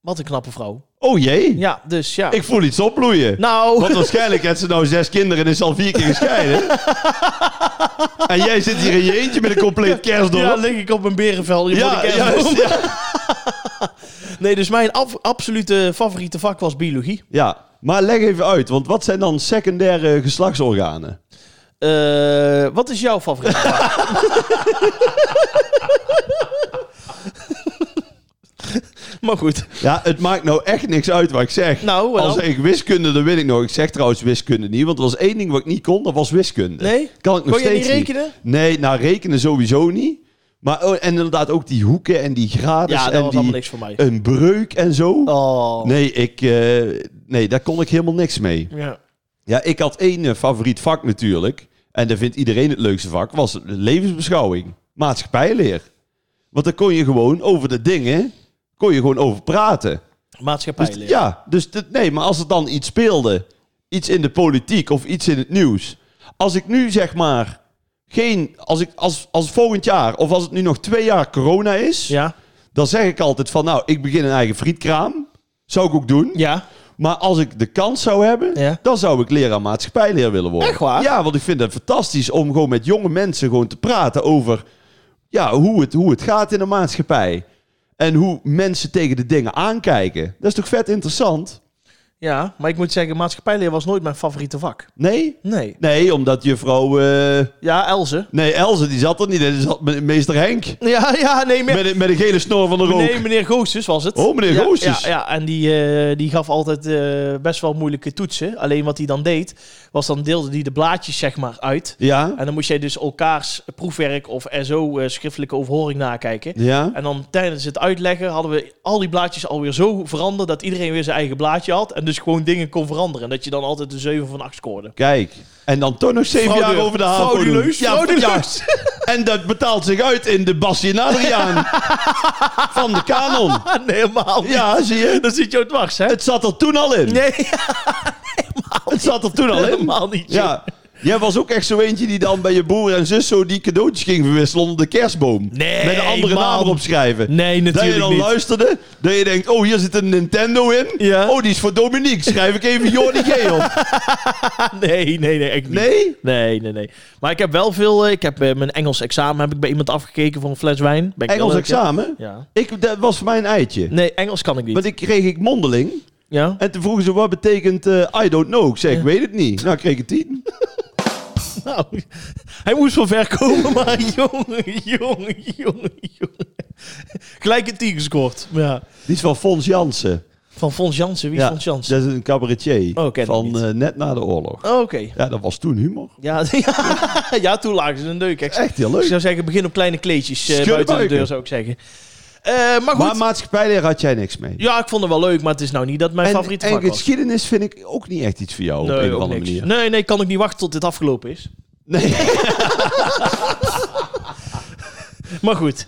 wat een knappe vrouw.
Oh jee,
Ja, dus ja.
ik voel iets opbloeien.
nou...
Want waarschijnlijk heeft ze nou zes kinderen en is al vier keer gescheiden. en jij zit hier in je eentje met een compleet
ja,
kerstdorp.
lig ik op een berenvel. hier voor de kerstboom.
juist, ja.
Nee, dus mijn af- absolute favoriete vak was biologie.
Ja, maar leg even uit, want wat zijn dan secundaire geslachtsorganen?
Eh, wat is jouw favoriete vak? maar goed.
Ja, het maakt nou echt niks uit wat ik zeg.
Nou, wel.
Als ik wiskunde, dan weet ik nog. Ik zeg trouwens wiskunde niet, want er was één ding wat ik niet kon, dat was wiskunde.
Nee?
Kan ik nog
Kon je
steeds
niet rekenen?
Nee, nou rekenen sowieso niet. Maar oh, en inderdaad ook die hoeken en die graden
Ja, dat
en
was
die,
allemaal niks voor mij.
een breuk en zo.
Oh.
Nee, ik, eh, nee, daar kon ik helemaal niks mee.
Ja.
Ja, ik had één eh, favoriet vak natuurlijk. En dat vindt iedereen het leukste vak. Was de levensbeschouwing. Maatschappijleer. Want dan kon je gewoon over de dingen... Kon je gewoon over praten. Dus,
Maatschappijleer.
ja, dus dit- nee, maar als er dan iets speelde... Iets in de politiek of iets in het nieuws. Als ik nu zeg maar... Geen, als, ik, als, als volgend jaar of als het nu nog twee jaar corona is...
Ja.
Dan zeg ik altijd van nou, ik begin een eigen frietkraam. Zou ik ook doen.
Ja.
Maar als ik de kans zou hebben,
Ja.
dan zou ik leraar maatschappijleer willen worden.
Echt waar?
Ja, want ik vind het fantastisch om gewoon met jonge mensen gewoon te praten over ja, hoe, het, hoe het gaat in de maatschappij. En hoe mensen tegen de dingen aankijken. Dat is toch vet interessant?
Ja, maar ik moet zeggen, maatschappijleer was nooit mijn favoriete vak.
Nee?
Nee.
Nee, omdat juffrouw... eh
Ja, Elze.
nee, Elze die zat er niet in. Die zat met meester Henk.
Ja, ja, nee, me-
Met, een- met een gele snor van de rook.
nee, meneer Goossens was het.
Oh, meneer
ja,
Goossens.
Ja, ja, en die, eh, die gaf altijd eh, best wel moeilijke toetsen. Alleen wat hij dan deed, was dan deelde hij de blaadjes zeg maar uit.
Ja?
En dan moest jij dus elkaars proefwerk of SO eh, schriftelijke overhoring nakijken.
Ja?
En dan tijdens het uitleggen hadden we al die blaadjes alweer zo veranderd dat iedereen weer zijn eigen blaadje had. En dus gewoon dingen kon veranderen. En dat je dan altijd een 7 van 8 scoorde.
Kijk. En dan toch nog zeven
Fraude-
jaar over de haven.
frauduleus,
Ja,
frauduleus.
ja. En dat betaalt zich uit in de Bassie en Adriaan. van de kanon.
Ah, nee, helemaal niet.
Ja, zie je?
Dan zit je ook dwars, hè?
Het zat er toen al in.
Nee,
Het zat er toen al in.
helemaal niet. joh.
Ja. Jij was ook echt zo eentje die dan bij je broer en zus zo die cadeautjes ging verwisselen onder de kerstboom.
Nee,
Met een andere
man.
naam erop schrijven.
Nee,
dat je
natuurlijk
dan
niet.
luisterde, dat je denkt, oh hier zit een Nintendo in.
Ja.
Oh, die is voor Dominique. Schrijf ik even Jordi G op.
Ah, Nee, nee, nee, echt niet.
Nee?
Nee, nee, nee. Maar ik heb wel veel... eh, Ik heb eh, mijn Engels examen heb ik bij iemand afgekeken voor een fles wijn. Ben ik
Engels
wel- ja.
examen?
Ja.
Ik, dat was voor mij een eitje.
Nee, Engels kan ik niet.
Want ik kreeg ik mondeling.
Ja?
En toen vroegen ze, wat betekent eh, I don't know? Ik zeg, ik
Ja.
weet het niet. Nou, ik kreeg een tien.
Nou, hij moest wel ver komen, maar jongen, jongen, jongen, jongen. Gelijk een tien gescoord. Ja.
Die is van Fons Jansen.
Van Fons Jansen, wie
Ja,
is Fons Jansen?
Dat is een cabaretier
Oh, ken ik
van
niet.
eh, net na de oorlog.
Oh, Oké.
Ja, dat was toen humor.
Ja, ja, ja, toen lagen ze een deuk. Ik
Echt heel
ik
leuk.
zou zeggen, begin op kleine kleedjes eh,
Schudden
buiten de
buiken.
deur, zou ik zeggen. Eh, maar goed.
Maar maatschappijleer had jij niks mee.
ja, ik vond het wel leuk, maar het is nou niet dat mijn
en,
favoriete
en
vak was.
geschiedenis vind ik ook niet echt iets voor jou op een
ook
of andere
niks.
manier.
nee, nee, kan ik niet wachten tot dit afgelopen is.
Nee.
Maar goed.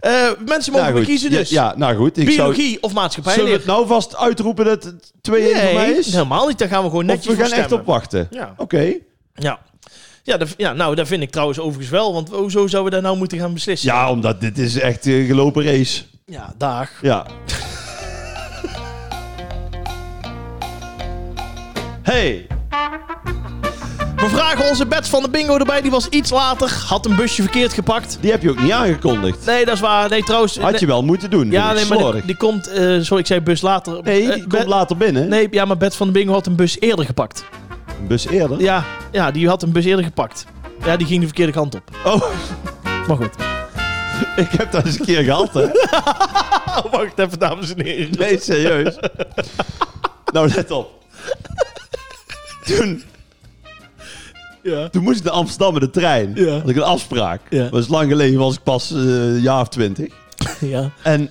Eh, mensen mogen
goed.
kiezen dus.
Ja, ja, nou goed. Ik zou...
Biologie of maatschappijleer.
Zullen we het nou vast uitroepen dat het 2-1 voor mij
Nee,
is?
helemaal niet. Daar gaan we gewoon
Of
netjes
we
voor
gaan echt
stemmen.
op wachten?
Ja.
Oké.
Ja. Ja, dat, ja, nou, dat vind ik trouwens overigens wel. Want hoezo zouden we daar nou moeten gaan beslissen?
Ja, omdat dit is echt een gelopen race.
Ja, dag.
Ja. hey,
We vragen onze bets van de bingo erbij. Die was iets later. Had een busje verkeerd gepakt.
die heb je ook niet aangekondigd.
Nee, dat is waar. Nee, trouwens...
Had je wel moeten doen.
nee, ja, nee, maar die,
Slordig.
die komt... eh sorry, ik zei bus later.
Nee,
Eh,
die
Be-
komt later binnen.
Nee, ja, maar Bets van de Bingo had een bus eerder gepakt.
Een bus eerder.
Ja, ja, die had een bus eerder gepakt. Ja, die ging de verkeerde kant op.
Oh,
Maar goed.
ik heb dat eens een keer gehad, hè.
Oh, wacht even, dames en heren.
Nee, serieus. nou, let op. Toen,
Ja.
toen moest ik naar Amsterdam met de trein.
Ja.
Had ik een afspraak.
Ja.
Dat was lang geleden, was ik pas eh, een jaar of twintig.
Ja.
En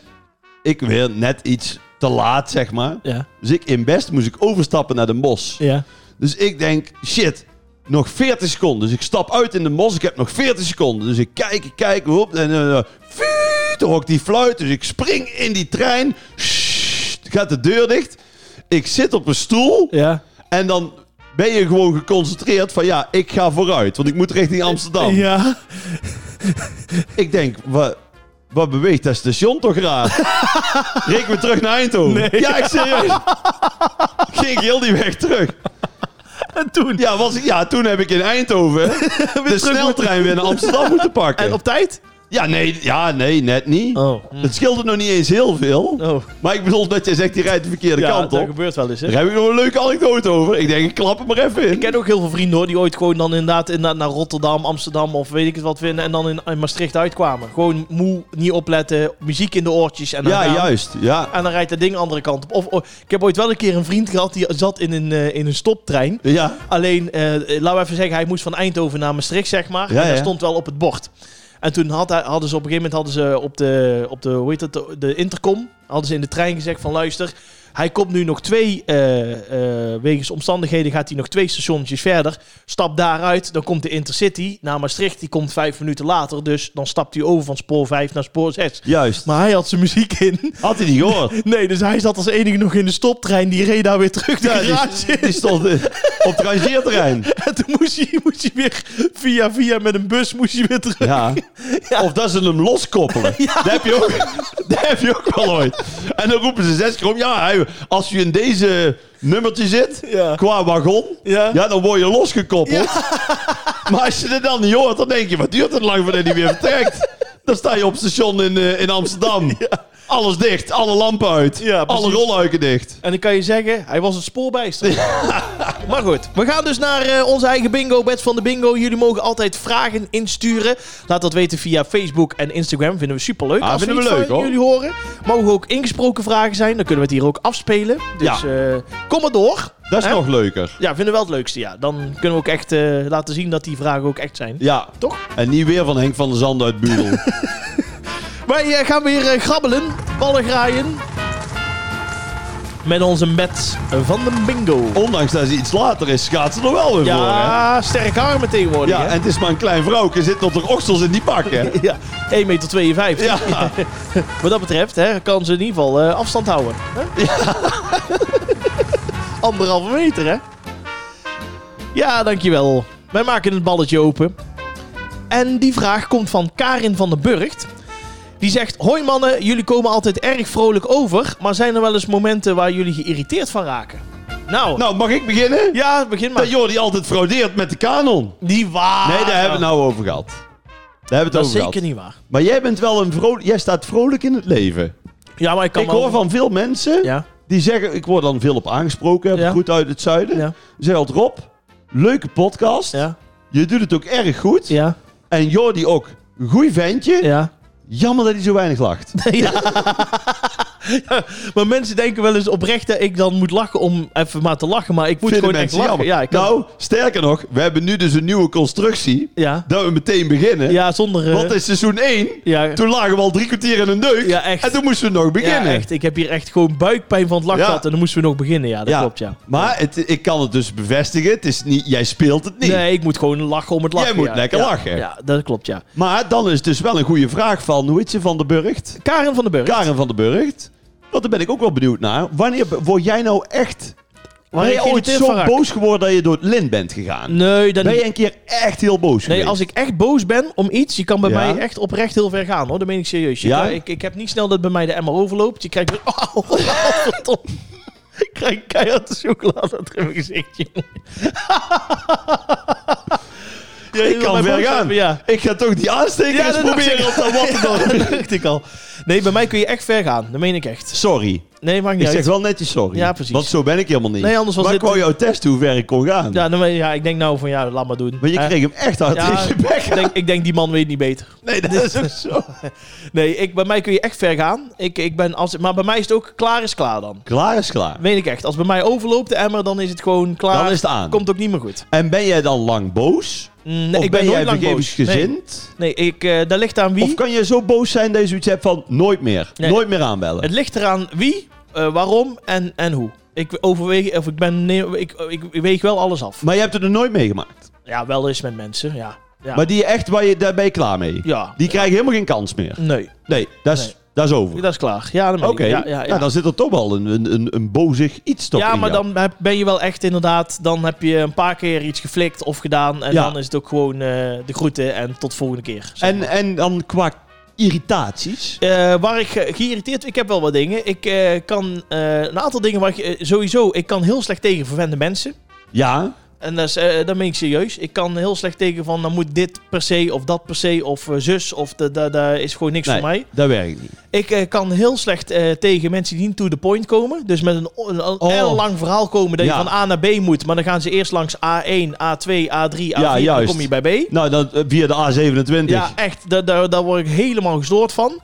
ik weer net iets te laat, zeg maar.
Ja.
Dus ik in Best moest ik overstappen naar de Mos.
Ja.
Dus ik denk, shit, nog 40 seconden. Dus ik stap uit in de Mos, ik heb nog 40 seconden. Dus ik kijk, ik kijk, hop, en eh fiet, dan hoor ik die fluit. Dus ik spring in die trein, Sssst, gaat de deur dicht. Ik zit op een stoel
Ja.
en dan ben je gewoon geconcentreerd van ja, ik ga vooruit, want ik moet richting Amsterdam.
Ja.
Ik denk, wat, wat beweegt dat station toch raar? Reken me terug naar Eindhoven. Ja, ik serieus. Ging ik heel die weg terug.
En toen.
Ja, was ik, ja, toen heb ik in Eindhoven de sneltrein weer naar Amsterdam moeten pakken.
En op tijd?
Ja, nee, ja, nee, net niet.
Oh.
Het scheelde nog niet eens heel veel.
Oh.
Maar ik bedoel dat jij zegt, die rijdt de verkeerde
ja,
kant
dat
op.
gebeurt wel eens. Hè?
Daar heb ik nog een leuke anekdote over. Ik denk, ik klap het maar even in.
Ik ken ook heel veel vrienden hoor, die ooit gewoon dan inderdaad, inderdaad naar Rotterdam, Amsterdam of weet ik het wat vinden. En dan in, in Maastricht uitkwamen. Gewoon moe, niet opletten, muziek in de oortjes. En dan
ja,
gaan.
juist. Ja.
En dan rijdt dat ding de andere kant op. Of, of- ik heb ooit wel een keer een vriend gehad die zat in een, eh, in een stoptrein.
Ja.
Alleen, eh laten we even zeggen, hij moest van Eindhoven naar Maastricht, zeg maar.
Ja,
en dat
ja.
stond wel op het bord. En toen had hij, hadden ze op een gegeven moment hadden ze op de, op de, hoe heet dat, de- de intercom, hadden ze in de trein gezegd van luister, hij komt nu nog twee, eh, eh, wegens omstandigheden gaat hij nog twee stationnetjes verder. Stap daaruit, dan komt de Intercity naar Maastricht, die komt vijf minuten later. Dus dan stapt hij over van spoor 5 naar spoor 6.
Juist.
Maar hij had zijn muziek in.
Had hij niet gehoord.
Nee, dus hij zat als enige nog in de stoptrein. Die reed daar weer terug de
Ja,
garage
die,
in.
die stond eh, op het rangeerterrein.
En toen moest hij, moest hij weer via via met een bus moest hij weer terug.
Ja.
Ja.
Of dat ze hem loskoppelen. Dat, heb je ook, dat heb je ook wel ooit. En dan roepen ze zes keer om. Ja, hij- als je in deze nummertje zit,
Ja.
qua wagon,
Ja.
ja. dan word je losgekoppeld. Maar als je het dan niet hoort, dan denk je, wat duurt het lang voordat hij weer vertrekt? Dan sta je op station in, eh, in Amsterdam. Alles dicht, alle lampen uit,
Ja, precies.
alle rolluiken dicht.
En dan kan je zeggen, hij was het spoorbijster. maar goed, we gaan dus naar eh, onze eigen bingo, Bets van de Bingo. Jullie mogen altijd vragen insturen. Laat dat weten via Facebook en Instagram. Vinden we superleuk.
Ah,
Als
vinden
we
we
iets
leuk,
van
hoor.
jullie horen. Mogen ook ingesproken vragen zijn. Dan kunnen we het hier ook afspelen. Dus eh, kom maar door.
Dat is
Hè?
nog leuker.
Ja, vinden we wel het leukste, ja. Dan kunnen we ook echt eh, laten zien dat die vragen ook echt zijn.
Ja.
Toch?
En niet weer van Henk van der Zand uit Budel.
Wij eh, gaan weer eh, grabbelen, ballen graaien. Met onze met van de bingo.
Ondanks dat ze iets later is, gaat ze er wel weer voor. Hè?
Ja, sterk armen tegenwoordig.
Ja,
hè?
en het is maar een klein vrouwtje, zit tot er oksels in die pak, hè?
Ja, 1,52 meter.
Ja,
Wat dat betreft hè, kan ze in ieder geval eh, afstand houden. Hè? Anderhalve meter, hè? Ja, dankjewel. Wij maken het balletje open. En die vraag komt van Karin van den Burgt. Die zegt: Hoi mannen, jullie komen altijd erg vrolijk over. Maar zijn er wel eens momenten waar jullie geïrriteerd van raken? Nou,
nou mag ik beginnen?
ja, begin maar.
Dat Jordi altijd fraudeert met de kanon.
Niet waar.
Nee, daar hebben we het nou over gehad. Daar hebben we het
Ah, Dat is
over
zeker
gehad.
niet waar.
Maar jij bent wel een vrolijk... Jij staat vrolijk in het leven.
Ja, maar ik kan
ik
wel-
hoor van veel mensen
Ja.
die zeggen... Ik word dan veel op aangesproken, heb
Ja.
ik goed uit het zuiden.
Ja.
Ze zeggen altijd, Rob, leuke podcast.
Ja.
Je doet het ook erg goed.
Ja.
En Jordi ook, goeie ventje.
Ja.
Jammer dat hij zo weinig lacht.
Ja. Ja, Maar mensen denken wel eens oprecht dat ik dan moet lachen om even maar te lachen. Maar ik moet
Vinden
gewoon echt
mensen
lachen.
jammer.
Ja, ik kan-
Nou, sterker nog, we hebben nu dus een nieuwe constructie.
ja.
Dat we meteen beginnen.
ja, zonder... eh,
Want in seizoen 1,
ja,
toen lagen we al drie kwartier in een deuk.
Ja, echt.
En toen moesten we nog
ja,
beginnen.
echt. Ik heb hier echt gewoon buikpijn van het lachen
Ja.
gehad. En dan moesten we nog beginnen. Ja, dat klopt, ja.
Maar het, ik kan het dus bevestigen. Het is niet, jij speelt het niet.
Nee, ik moet gewoon lachen om het lachen.
moet
ja.
lekker
Ja,
lachen.
Ja, dat klopt, ja.
Maar dan is het dus wel een goede vraag van, hoe heet ze, Van de Burgt?
Karen van den Burg.
Karen van de Burgt. Want daar ben ik ook wel benieuwd naar. Wanneer be- word jij nou echt... Ben je ooit zo boos geworden dat je door het lint bent gegaan?
Nee, dan
Ben
niet.
je een keer echt heel boos geweest?
Nee, als ik echt boos ben om iets, je kan bij
Ja.
mij echt oprecht heel ver gaan hoor. Dat meen ik serieus. Je
Ja?
kan- ik, ik heb niet snel dat bij mij de emmer overloopt. Je krijgt. Oh, verdomme. ik krijg keihard de chocolade uit mijn gezichtje. ja,
Ik kan ver gaan.
Ja.
Ik ga toch die aanstekers
Ja, dat
proberen
dacht
op dat wat
dat dacht ik al. Nee, bij mij kun je echt ver gaan. Dat meen ik echt.
Sorry.
Nee, maakt niet
Ik
uit.
zeg wel netjes sorry.
Ja, precies.
Want zo ben ik helemaal niet.
Nee, anders was
maar
dit-
ik wou jou testen hoe ver ik kon gaan.
Ja, dan, ja, ik denk nou van ja, laat maar doen.
Maar je
Hè?
kreeg hem echt hard
Ja,
in je bek.
ik denk, ik denk die man weet niet beter.
Nee, dat is ook zo.
Nee, ik, bij mij kun je echt ver gaan. Ik, ik ben als, maar bij mij is het ook klaar is klaar dan.
Klaar is klaar.
Meen ik echt. Als bij mij overloopt de emmer, dan is het gewoon klaar.
Dan is het aan.
Komt ook niet meer goed.
En ben jij dan lang boos?
Mm, Nee,
of
ik ben,
ben,
nooit
jij
lang boos. Nee,
vergevingsgezind?
nee ik, eh daar ligt aan wie.
Of kan je zo boos zijn dat je zoiets hebt van nooit meer?
Nee.
Nooit meer aanbellen?
Het ligt eraan wie, eh, waarom en, en hoe. Ik overweeg, of ik ben, nee, ik, ik, ik weeg wel alles af.
Maar je hebt het er nooit meegemaakt.
Ja, wel eens met mensen, ja. Ja.
Maar die echt, waar je, daar ben je klaar mee.
ja.
Die krijgen helemaal geen kans meer.
Nee,
Nee, dat is,
Nee.
Dat is over.
dat is klaar. Ja, dan ben
Oké,
ik- ja, ja, ja.
Nou, dan zit er toch al een, een, een, een bozig iets toch
Ja,
in
maar
jou.
dan heb- ben je wel echt inderdaad. Dan heb je een paar keer iets geflikt of gedaan. En
Ja.
dan is het ook gewoon eh, de groeten en tot volgende keer. zeg
En, en dan qua irritaties.
Eh, waar ik eh, geïrriteerd... Ik heb wel wat dingen. Ik eh, kan eh, een aantal dingen waar ik... eh, sowieso, ik kan heel slecht tegen verwende mensen.
Ja,
En dat, is, eh, dat meen ik serieus. Ik kan heel slecht tegen van... Dan moet dit per se of dat per se of eh, zus. Of da- da- daar is gewoon niks
nee,
voor mij.
dat werkt niet.
Ik eh, kan heel slecht eh, tegen mensen die niet to the point komen. Dus met een, o- een, een
Oh.
heel lang verhaal komen dat
Ja.
je van A naar B moet. Maar dan gaan ze eerst langs A1, A2, A3, A4. en dan
juist.
kom je bij B.
Nou, dan eh, via de A27.
Ja, echt. Daar, daar, daar word ik helemaal gestoord van.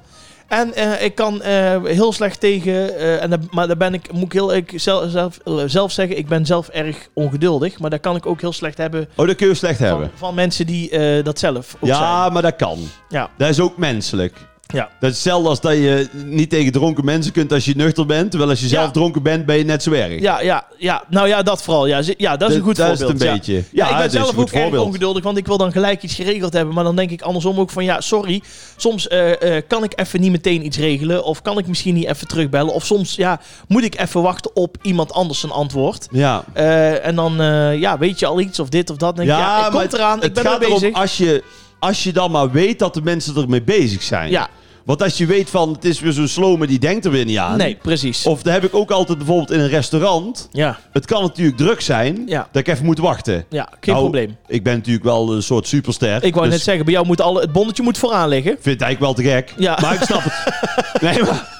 En eh, ik kan eh, heel slecht tegen... eh, en dat- maar daar ben ik, moet ik heel ik zelf, zelf, eh, zelf zeggen, ik ben zelf erg ongeduldig. Maar dat kan ik ook heel slecht hebben
Oh, dat kun je slecht
van,
hebben.
van mensen die eh, dat zelf ook
ja,
zijn.
maar dat kan.
Ja.
Dat is ook menselijk.
Ja.
Dat is hetzelfde als dat je niet tegen dronken mensen kunt als je nuchter bent. Terwijl als je zelf
Ja.
dronken bent, ben je net zo erg.
Ja, ja, ja, nou ja, dat vooral. Ja, Ze- ja dat is een goed
dat
voorbeeld.
Is het een
ja.
beetje.
Ja, ik ben
dat is
zelf
een goed
ook erg
voorbeeld.
ongeduldig, want ik wil dan gelijk iets geregeld hebben. Maar dan denk ik andersom ook van, ja, sorry, soms eh, eh, kan ik even niet meteen iets regelen. Of kan ik misschien niet even terugbellen. Of soms, ja, moet ik even wachten op iemand anders zijn antwoord.
Ja,
Eh, en dan, eh, ja, weet je al iets of dit of dat. Dan denk ik, ja, ik kom
maar
eraan, ik
het
ben er
gaat
bezig.
erom als je, als je dan maar weet dat de mensen ermee bezig zijn.
ja,
Want als je weet van, het is weer zo'n slome, die denkt er weer niet aan. Oh.
nee, precies.
Of dat heb ik ook altijd bijvoorbeeld in een restaurant.
ja,
Het kan natuurlijk druk zijn
Ja.
dat ik even moet wachten.
ja, geen
Nou,
probleem.
Ik ben natuurlijk wel een soort superster.
Ik wou
dus
net zeggen, bij jou moet alle, het bonnetje moet vooraan liggen.
Ik vind het eigenlijk wel te gek.
Ja.
Maar ik snap het. nee, maar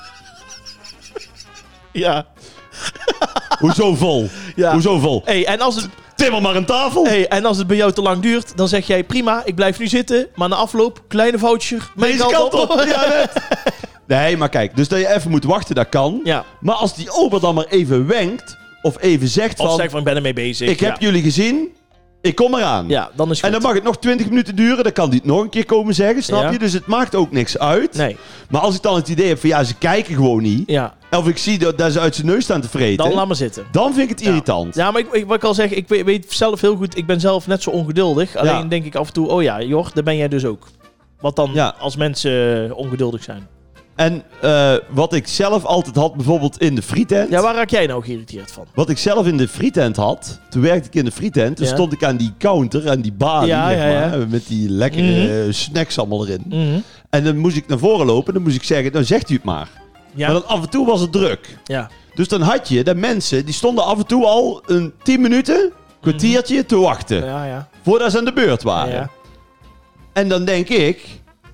Ja.
Hoezo vol?
Ja.
Hoezo vol?
Hey, en als het,
Timmer maar een tafel.
hey, en als het bij jou te lang duurt, dan zeg jij prima, ik blijf nu zitten. Maar na afloop, kleine voucher, mijn
Deze kant op. Ja, net. Nee, maar kijk, dus dat je even moet wachten, dat kan.
Ja.
Maar als die ober dan maar even wenkt, of even zegt
Of
van,
zeg van, ik ben ermee bezig.
ik heb
ja.
jullie gezien, ik kom eraan.
Ja, dan is het
En dan
goed.
mag het nog 20 minuten duren, dan kan die het nog een keer komen zeggen, snap
Ja.
je? Dus het maakt ook niks uit.
Nee,
Maar als ik dan het idee heb van, ja, ze kijken gewoon niet.
ja.
Of ik zie dat, dat ze uit zijn neus staan te vreten.
Dan
Dan,
laat maar zitten.
vind ik het irritant.
Ja, maar ik, ik- wat ik al zeg, ik weet, weet zelf heel goed, ik ben zelf net zo ongeduldig. Alleen denk ik af en toe, oh ja, Jor, daar ben jij dus ook. Wat dan
Ja.
als mensen eh, ongeduldig zijn.
En eh, wat ik zelf altijd had, bijvoorbeeld in de frietent.
Ja, waar raak jij nou geïrriteerd van?
Wat ik zelf in de frietent had, toen werkte ik in de frietent, toen
Ja.
stond ik aan die counter, aan die balie,
Ja,
zeg
ja, ja.
maar, met die lekkere eh, snacks allemaal erin.
Mhm.
En dan moest ik naar voren lopen en dan moest ik zeggen, dan zegt u het maar.
Ja,
Maar dan af en toe was het druk.
ja.
Dus dan had je de mensen, die stonden af en toe al een 10 minuten, kwartiertje te wachten,
ja, ja.
voordat ze aan de beurt
ja,
waren.
ja.
En dan denk ik,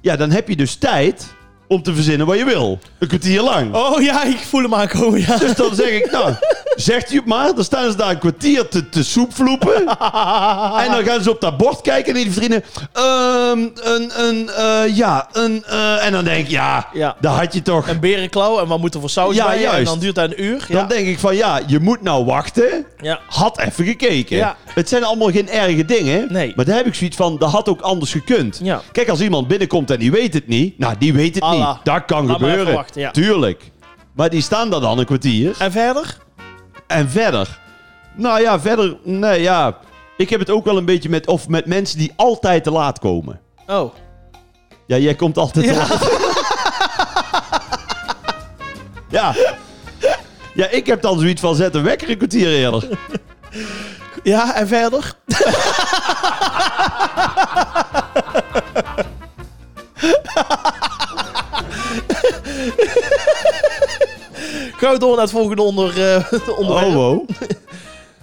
ja, dan heb je dus tijd om te verzinnen wat je wil. Een kwartier lang.
Oh ja, ik voel hem aankomen, ja.
Dus dan zeg ik, nou, zegt u het maar. Dan staan ze daar een kwartier te, te soepvloepen. En dan gaan ze op dat bord kijken en die vrienden... ehm, een, een, eh, ja, een... eh, en dan denk ik, ja,
Ja.
daar had je toch...
Een berenklauw en wat moet er voor saus
Ja,
bij? En
juist.
dan duurt dat een uur.
Dan
Ja,
denk ik van, ja, je moet nou wachten.
ja.
Had even gekeken.
Ja.
Het zijn allemaal geen erge dingen.
Nee.
Maar daar heb ik zoiets van, dat had ook anders gekund.
Ja.
Kijk, als iemand binnenkomt en die weet het niet... Nou, die weet het
Allah.
niet. Dat kan
Laat maar
gebeuren.
even wachten, ja.
Tuurlijk. Maar die staan daar dan een kwartier.
En verder?
En verder? Nou ja, verder. Nee, ja. Ik heb het ook wel een beetje met, of met mensen die altijd te laat komen.
Oh.
Ja, jij komt altijd te
Ja.
laat. ja. Ja, ik heb dan zoiets van zet een wekker een kwartier eerder.
Ja, en verder? Gaan we door naar het volgende onder, eh, onderwerp.
Oh, wow.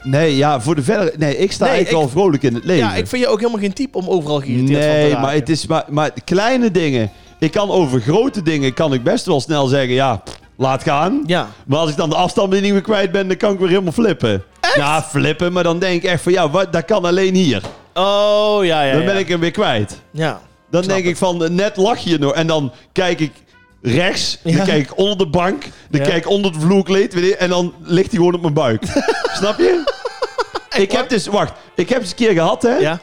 Nee, ja, voor de verder. Nee, ik sta
Nee,
eigenlijk
ik-
wel vrolijk in het leven.
Ja, ik vind je ook helemaal geen type om overal geïrriteerd van te
nee,
raken.
maar het is maar, maar kleine dingen. Ik kan over grote dingen kan ik best wel snel zeggen, ja, pff, laat gaan.
Ja.
Maar als ik dan de afstandsbediening weer kwijt ben, dan kan ik weer helemaal flippen. Ja, flippen, maar dan denk ik echt van ja, wat, dat kan alleen hier.
Oh, ja, ja,
Dan
ja.
ben ik hem weer kwijt.
Ja.
Dan
Snap
denk ik van eh, net lach je nog. En dan kijk ik rechts,
Ja.
dan kijk ik onder de bank, dan
Ja.
kijk ik onder het vloerkleed weet je, en dan ligt hij gewoon op mijn buik. Snap je? Ik heb dus, wacht, ik heb eens een keer gehad hè.
Ja?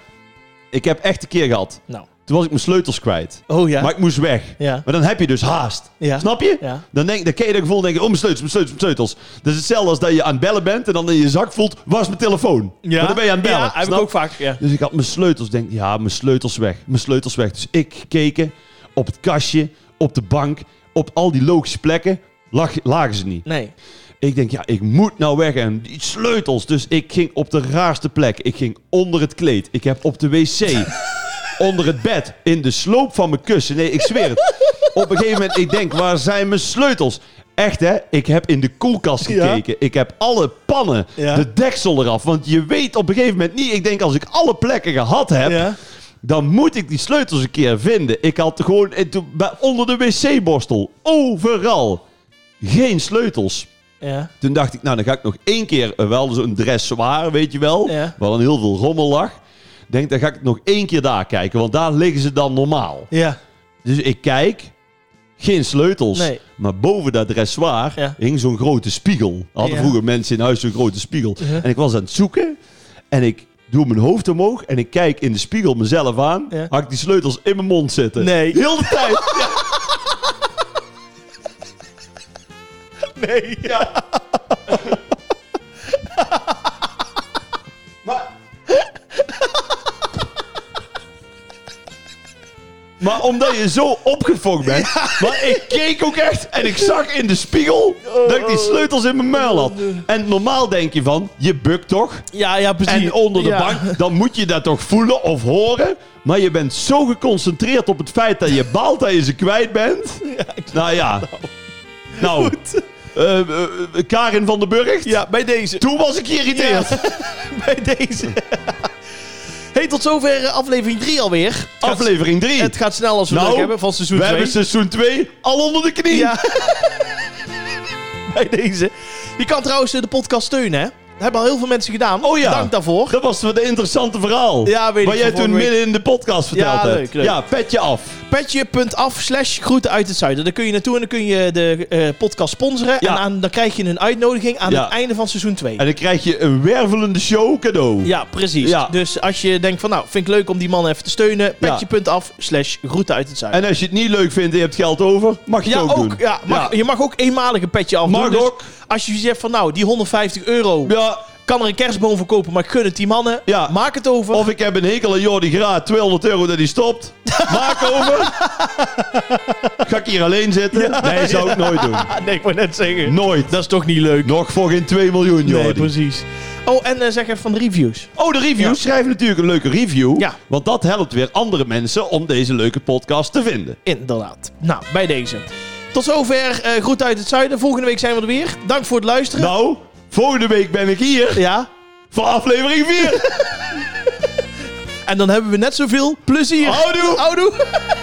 Ik heb echt een keer gehad.
Nou.
Toen was ik mijn sleutels kwijt.
Oh, ja.
Maar ik moest weg.
Ja.
Maar dan heb je dus haast.
Ja.
Snap je?
Ja.
Dan, denk, dan ken je dat gevoel denk je, oh mijn sleutels, mijn sleutels, mijn sleutels. Dat is hetzelfde als dat je aan het bellen bent en dan in je zak voelt, waar is mijn telefoon?
Ja.
Maar dan ben je aan het bellen.
Ja, heb
snap?
ik ook vaak. Ja.
Dus ik had mijn sleutels, denk ja, mijn sleutels weg, mijn sleutels weg. Dus ik gekeken op het kastje, op de bank, op al die logische plekken, lag, lagen ze niet.
Nee.
Ik denk, ja, ik moet nou weg en die sleutels. Dus ik ging op de raarste plek. Ik ging onder het kleed. Ik heb op de wc. onder het bed. In de sloop van mijn kussen. Nee, ik zweer het. Op een gegeven moment, ik denk, waar zijn mijn sleutels? Echt, hè? Ik heb in de koelkast
Ja.
gekeken. Ik heb alle pannen,
Ja.
de deksel eraf. Want je weet op een gegeven moment niet... Ik denk, als ik alle plekken gehad heb...
Ja.
Dan moet ik die sleutels een keer vinden. Ik had gewoon en toen- bij- onder de wc-borstel, overal, geen sleutels.
Ja.
Toen dacht ik, nou dan ga ik nog één keer eh, wel zo'n dressoir, weet je wel.
Ja.
Waar dan heel veel rommel lag. Ik Denk, dan ga ik nog één keer daar kijken, want daar liggen ze dan normaal.
Ja.
Dus ik kijk, geen sleutels.
Nee.
Maar boven dat dressoir
Ja.
hing zo'n grote spiegel. Hadden
Ja.
vroeger mensen in huis zo'n grote spiegel.
Ja.
En ik was aan het zoeken en ik doe mijn hoofd omhoog en ik kijk in de spiegel mezelf aan.
Ja.
Had ik die sleutels in mijn mond zitten.
Nee.
Heel de tijd. Ja.
Nee.
Ja. maar... maar omdat je zo opgefokt bent... Maar ik keek ook echt en ik zag in de spiegel... dat ik die sleutels in mijn muil had. En normaal denk je van, je bukt toch?
Ja, ja, precies.
En onder de
Ja.
bank, dan moet je dat toch voelen of horen. Maar je bent zo geconcentreerd op het feit dat je baalt dat je ze kwijt bent. nou ja. Nou, eh, eh, eh, Karin van den Burg.
Ja, bij deze.
Toen was ik geïrriteerd.
bij deze. hey, tot zover eh, aflevering 3 alweer. Het gaat-
Aflevering 3.
Het gaat snel als we het
Nou,
hebben van seizoen
We
2.
hebben seizoen 2 al onder de knie.
Ja. bij deze. Je kan trouwens eh, de podcast steunen, hè? Dat hebben al heel veel mensen gedaan.
Oh ja.
Dank daarvoor.
Dat was het interessante verhaal.
Ja, weet
Wat
ik
jij
van
toen
vorige
midden in de podcast verteld
Ja,
hebt.
leuk, leuk.
Ja, petje af.
Petje.af slash groeten uit het zuiden. Daar kun je naartoe en dan kun je de eh, podcast sponsoren.
Ja.
En aan, dan krijg je een uitnodiging aan
Ja.
het einde van seizoen 2.
En dan krijg je een wervelende show cadeau.
Ja, precies.
Ja.
Dus als je denkt van nou, vind ik leuk om die man even te steunen.
Ja.
Petje.af slash groeten uit het zuiden.
En als je het niet leuk vindt en je hebt geld over, mag je
ja,
het ook, doen.
ja, mag,
Ja.
je mag ook eenmalig een petje af
Mag
doen. Dus
ook.
als je zegt van nou, die 150 euro
Ja,
kan er een kerstboom voor kopen, maar ik gun het die mannen.
Ja.
Maak het over.
of ik heb een hekel aan Jordi Graat, 200 euro dat hij stopt. Maak over. Ga ik hier alleen zitten? Nee, zou ik nooit doen.
Ah, nee, ik wou net zeggen.
Nooit.
Dat is toch niet leuk.
Nog voor geen 2 miljoen, Jordi.
Nee, precies. Oh, en eh, zeg even van de reviews.
Oh, de review.
Ja.
Schrijf natuurlijk een leuke review.
Ja.
Want dat helpt weer andere mensen om deze leuke podcast te vinden.
Inderdaad. Nou, bij deze. Tot zover. eh groet uit het zuiden. Volgende week zijn we er weer. Dank voor het luisteren.
Nou, volgende week ben ik hier
Ja.
voor aflevering 4.
En dan hebben we net zoveel plezier.
Houdoe!
Houdoe.